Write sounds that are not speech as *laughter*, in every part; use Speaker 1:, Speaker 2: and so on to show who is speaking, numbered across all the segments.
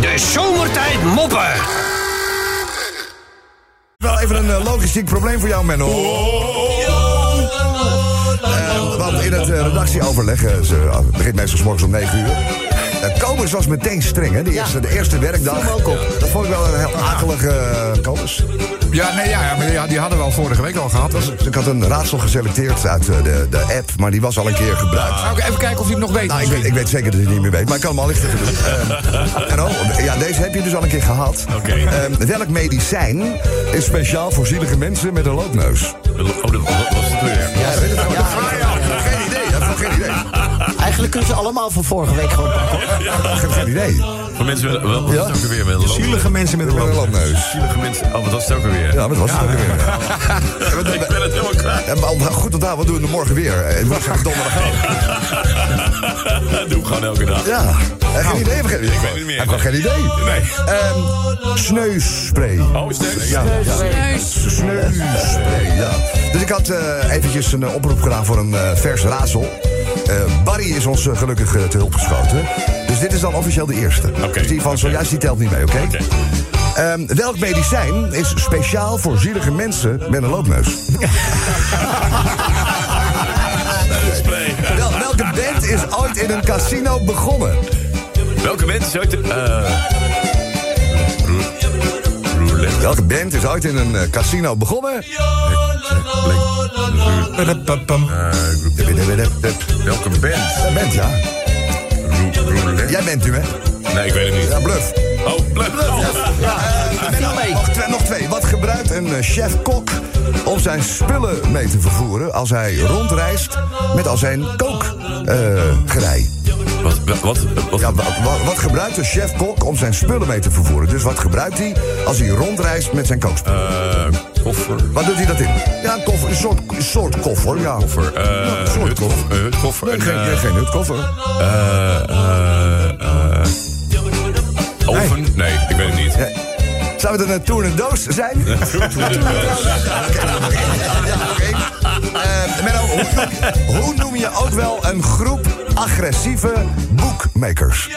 Speaker 1: De zomertijd moppen.
Speaker 2: Wel even een eh, logistiek probleem voor jou, Menno. Eh, want in het eh, redactieoverleg, eh, ze, ah, het begint meestal 's morgens om 9 uur. Eh, Kobus was meteen streng, hè? De eerste, de eerste werkdag. Dat vond ik wel een heel akelige eh, Kobus.
Speaker 3: Ja, nee, ja, ja, maar die- die hadden we al vorige week al gehad.
Speaker 2: Dus Ik had een raadsel geselecteerd uit eh, de, de app, maar die was al een keer gebruikt.
Speaker 3: Nou, even kijken of hij het nog weet.
Speaker 2: Nou, ik, weet, ik weet zeker dat hij het niet meer weet, maar ik kan hem al lichter doen. Eh, en oh, ja, deze heb je dus al een keer gehad. Eh, welk medicijn is speciaal voor zielige mensen met een loopneus?
Speaker 4: Oh, dat was het weer.
Speaker 2: Ja, weet het nou, de vraag, ja. Geen idee, dat heb ik geen idee.
Speaker 5: Eigenlijk kunnen ze allemaal van vorige week gewoon pakken. hoor.
Speaker 2: Ik heb geen idee.
Speaker 4: Voor mensen wel, wel wat
Speaker 2: Ja.
Speaker 4: is het ook weer met een loop?
Speaker 3: Zielige mensen met een
Speaker 2: Met een
Speaker 3: loopneus.
Speaker 2: loopneus.
Speaker 4: Zielige mensen. Oh, wat was het ook weer?
Speaker 2: Ja, wat was het ook weer? Ja.
Speaker 4: Ik ben het helemaal kwijt.
Speaker 2: En maar goed onthouden, wat doen we er morgen weer? Eh, Woensdag en donderdag ook.
Speaker 4: Dat *laughs* doe ik gewoon elke dag.
Speaker 2: Ja, Eh, geen idee. Ik weet
Speaker 4: Ik weet het niet meer.
Speaker 2: Heb gewoon geen idee.
Speaker 4: Nee.
Speaker 2: Ehm sneuspray.
Speaker 4: Oh, is het?
Speaker 2: Ja, ja. Sneuspray, ja. Dus ik had eh, eventjes een eh, oproep gedaan voor een eh, vers raadsel. Eh, Barry is ons eh, gelukkig eh, te hulp geschoten. Dus dit is dan officieel de eerste.
Speaker 4: Oké,
Speaker 2: Dus die van
Speaker 4: oké.
Speaker 2: zojuist die telt niet mee, oké?
Speaker 4: Oké.
Speaker 2: Ehm, welk medicijn is speciaal voor zielige mensen met een loopneus?
Speaker 4: Spray.
Speaker 2: Wel, welke band is ooit in een casino begonnen?
Speaker 4: Welke mensen zou je... eh roe- Roulette.
Speaker 2: Welke band is ooit in een eh, casino begonnen?
Speaker 4: Eh, Welke band?
Speaker 2: Ja, band, ja.
Speaker 4: Roe- Roulette?
Speaker 2: Jij bent u, hè?
Speaker 4: Nee, ik weet het
Speaker 2: Ja,
Speaker 4: niet.
Speaker 2: bluff.
Speaker 4: Oh, bluff. Oh.
Speaker 2: Nog, twee, nog twee. Wat gebruikt een eh, chef-kok om zijn spullen mee te vervoeren... als hij rondreist met al zijn kookgerij?
Speaker 4: Wat, wat, wat, wat,
Speaker 2: ja, wa- wa- wat gebruikt een chef-kok om zijn spullen mee te vervoeren? Dus wat gebruikt hij als hij rondreist met zijn kookspullen?
Speaker 4: eh, koffer.
Speaker 2: Wat doet hij dat in? Ja, een, koffer, een soort, een soort koffer, ja.
Speaker 4: Koffer. eh,
Speaker 2: Ja, een soort
Speaker 4: hutkoffer,
Speaker 2: koffer.
Speaker 4: eh, hutkoffer,
Speaker 2: Nee,
Speaker 4: een,
Speaker 2: geen,
Speaker 4: eh,
Speaker 2: geen hutkoffer.
Speaker 4: eh, eh, eh, Oven? Nee, ik weet het niet.
Speaker 2: Ja. Zou het een toernedoos zijn? Ja, oké. Eh, Menno, hoe, hoe noem je ook wel een groep agressieve boekmakers?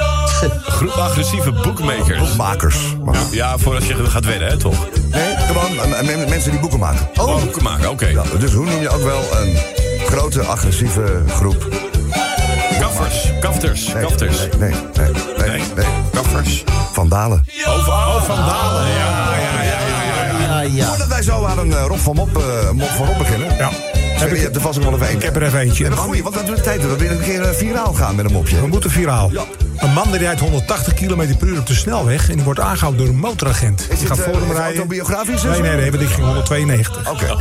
Speaker 4: Groep agressieve boekmakers. Oh.
Speaker 2: Boekmakers. Maar-
Speaker 4: Ja, voor als je gaat wedden, hè, toch?
Speaker 2: Nee, gewoon eh, men- mensen die boeken maken.
Speaker 4: Oh, boeken maken, oké.
Speaker 2: Ja, dus hoe noem je ook wel een grote agressieve groep?
Speaker 4: Kaffers, kafters,
Speaker 2: Nee,
Speaker 4: kafters.
Speaker 2: Nee, nee, nee, nee,
Speaker 4: Nee.
Speaker 2: nee.
Speaker 4: Kaffers.
Speaker 2: Vandalen.
Speaker 4: Over, oh, van Dalen. Ja, ja, ja, ja, ja.
Speaker 5: Ja, ja.
Speaker 2: Voordat wij zo aan een eh, Rob van Mop, eh, Mop van Rob beginnen.
Speaker 3: Ja.
Speaker 2: Heb je hebt er vast ook wel even
Speaker 3: Ik heb er even eentje.
Speaker 2: een goeie, want dat doet de tijd. We willen een keer eh, viraal gaan met een
Speaker 3: We
Speaker 2: mopje.
Speaker 3: moeten viraal.
Speaker 2: Ja.
Speaker 3: Een man die rijdt 180 km per uur op de snelweg... en die wordt aangehouden door een motoragent.
Speaker 2: Is
Speaker 3: die
Speaker 2: dit,
Speaker 3: gaat
Speaker 2: eh,
Speaker 3: voor hem
Speaker 2: is het
Speaker 3: rijden.
Speaker 2: autobiografisch of
Speaker 3: Nee,
Speaker 2: zo?
Speaker 3: nee, nee, want ik ging 192.
Speaker 2: Oké.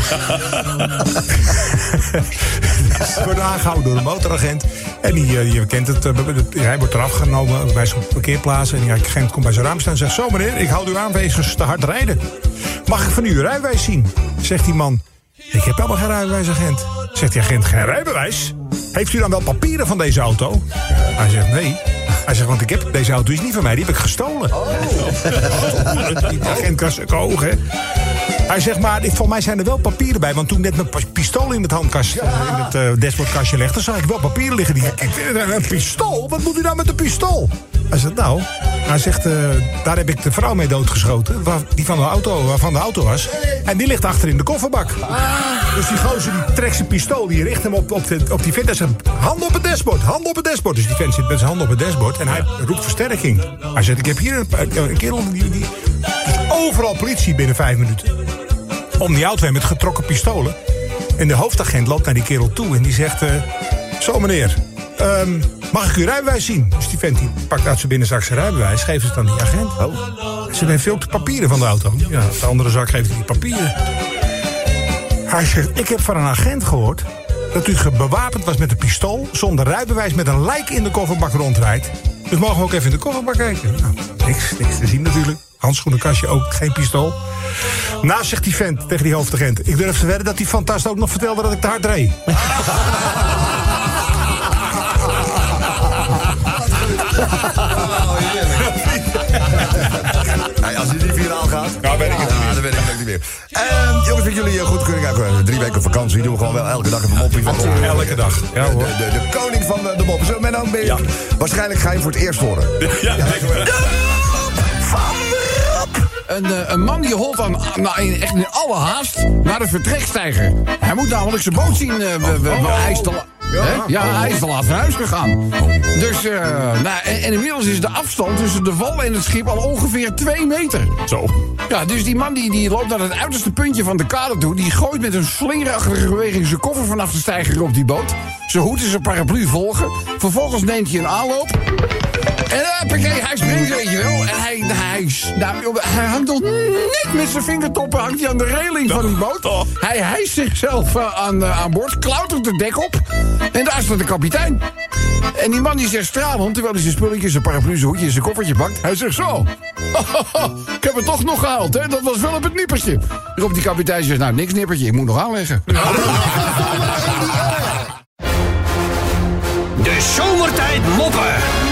Speaker 3: *laughs* Hij *laughs* wordt aangehouden door een motoragent. En die, eh, je kent het, eh, be- be- hij wordt eraf genomen bij zijn parkeerplaats. En die agent komt bij zijn raam staan en zegt... Zo meneer, ik hou uw aanwezig te hard rijden. Mag ik van u uw rijbewijs zien? Zegt die man. Ik heb helemaal geen rijbewijs, agent. Zegt die agent, geen rijbewijs? Heeft u dan wel papieren van deze auto? Eh, Hij zegt, nee. Hij zegt, want ik heb, deze auto is niet van mij, die heb ik gestolen. *laughs* Die agent kan zijn oog, hè. Hij zegt, maar ik- voor mij zijn er wel papieren bij. Want toen ik net mijn pa- pistool in het handkast, eh, in het eh, dashboardkastje legde... zag ik wel papieren liggen. Die, ik vind het nou een pistool? Wat moet u nou met een pistool? Hij zegt, nou... Hij zegt, eh, daar heb ik de vrouw mee doodgeschoten. Waar, die van de auto, waarvan de auto was. En die ligt achter in de kofferbak. Dus die gozer die trekt zijn pistool, die richt hem op, op, de, op die vent. en zegt, hand op het dashboard, hand op het dashboard. Dus die vent zit met zijn hand op het dashboard en hij roept versterking. Hij zegt, ik heb hier een, een kerel die... die dus overal politie binnen vijf minuten om die auto heen met getrokken pistolen. En de hoofdagent loopt naar die kerel toe en die zegt... eh, zo meneer, ehm, mag ik uw rijbewijs zien? Dus die vent die pakt uit zijn binnenzak zijn rijbewijs... geeft het aan die agent. Oh. Ze heeft ook de papieren van de auto. Ja, de andere zak geeft hij die papieren. Hij zegt, ik heb van een agent gehoord... dat u ge- bewapend was met een pistool... zonder rijbewijs met een lijk in de kofferbak rondrijdt. Dus mogen we ook even in de kofferbak kijken? Nou, niks, niks te zien natuurlijk. Handschoenenkastje ook, geen pistool. Nou, zegt die vent tegen die hoofdagent... ik durf te wedden dat die fantast ook nog vertelde dat ik te hard reed.
Speaker 2: Hey, als hij niet viraal gaat,
Speaker 3: Nou, weet ik het
Speaker 2: ah, dan weet ik het ook niet meer. Ehm, jongens, met jullie eh, goed kunnen kijken. Drie weken vakantie doen we gewoon wel elke dag even moppie van elkaar.
Speaker 3: Elke dag. Ja,
Speaker 2: De,
Speaker 3: hoor.
Speaker 2: de, de koning
Speaker 4: Oh.
Speaker 2: van de, de moppen. Zullen we nou een beetje- Waarschijnlijk ga je hem voor het eerst horen.
Speaker 4: Ja, denk ik wel.
Speaker 1: een, eh, een man die holt aan, nou, in, echt in alle haast naar de vertrekstijger. Hij moet namelijk zijn boot zien. eh, we- we- we- hij is te la- hè? Ja, hij is te laat naar huis gegaan. Dus, eh, nou, en, en inmiddels is de afstand tussen de wal en het schip al ongeveer 2 meter.
Speaker 4: Zo.
Speaker 1: Ja, dus die man die, die loopt naar het uiterste puntje van de kade toe. Die gooit met een slingerachtige beweging zijn koffer vanaf de steiger op die boot. Zijn hoed en zijn paraplu volgen. Vervolgens neemt hij een aanloop. En huppakee, hij springt, weet je wel. En hij, hij, s- nou, joh, hij hangt nog net met zijn vingertoppen hangt hij aan de reling van die boot. Hij hijst zichzelf eh, aan, eh, aan boord, klautert het dek op. En daar staat de kapitein. En die man die zegt stralend, terwijl hij zijn spulletjes, zijn paraplu, zijn hoedje en zijn koffertje pakt. Hij zegt zo. *laughs* ik heb het toch nog gehaald, hè? Dat was wel op het nippertje. Roept die kapitein zegt, nou, niks nippertje, ik moet nog aanleggen.
Speaker 6: De zomertijd moppen.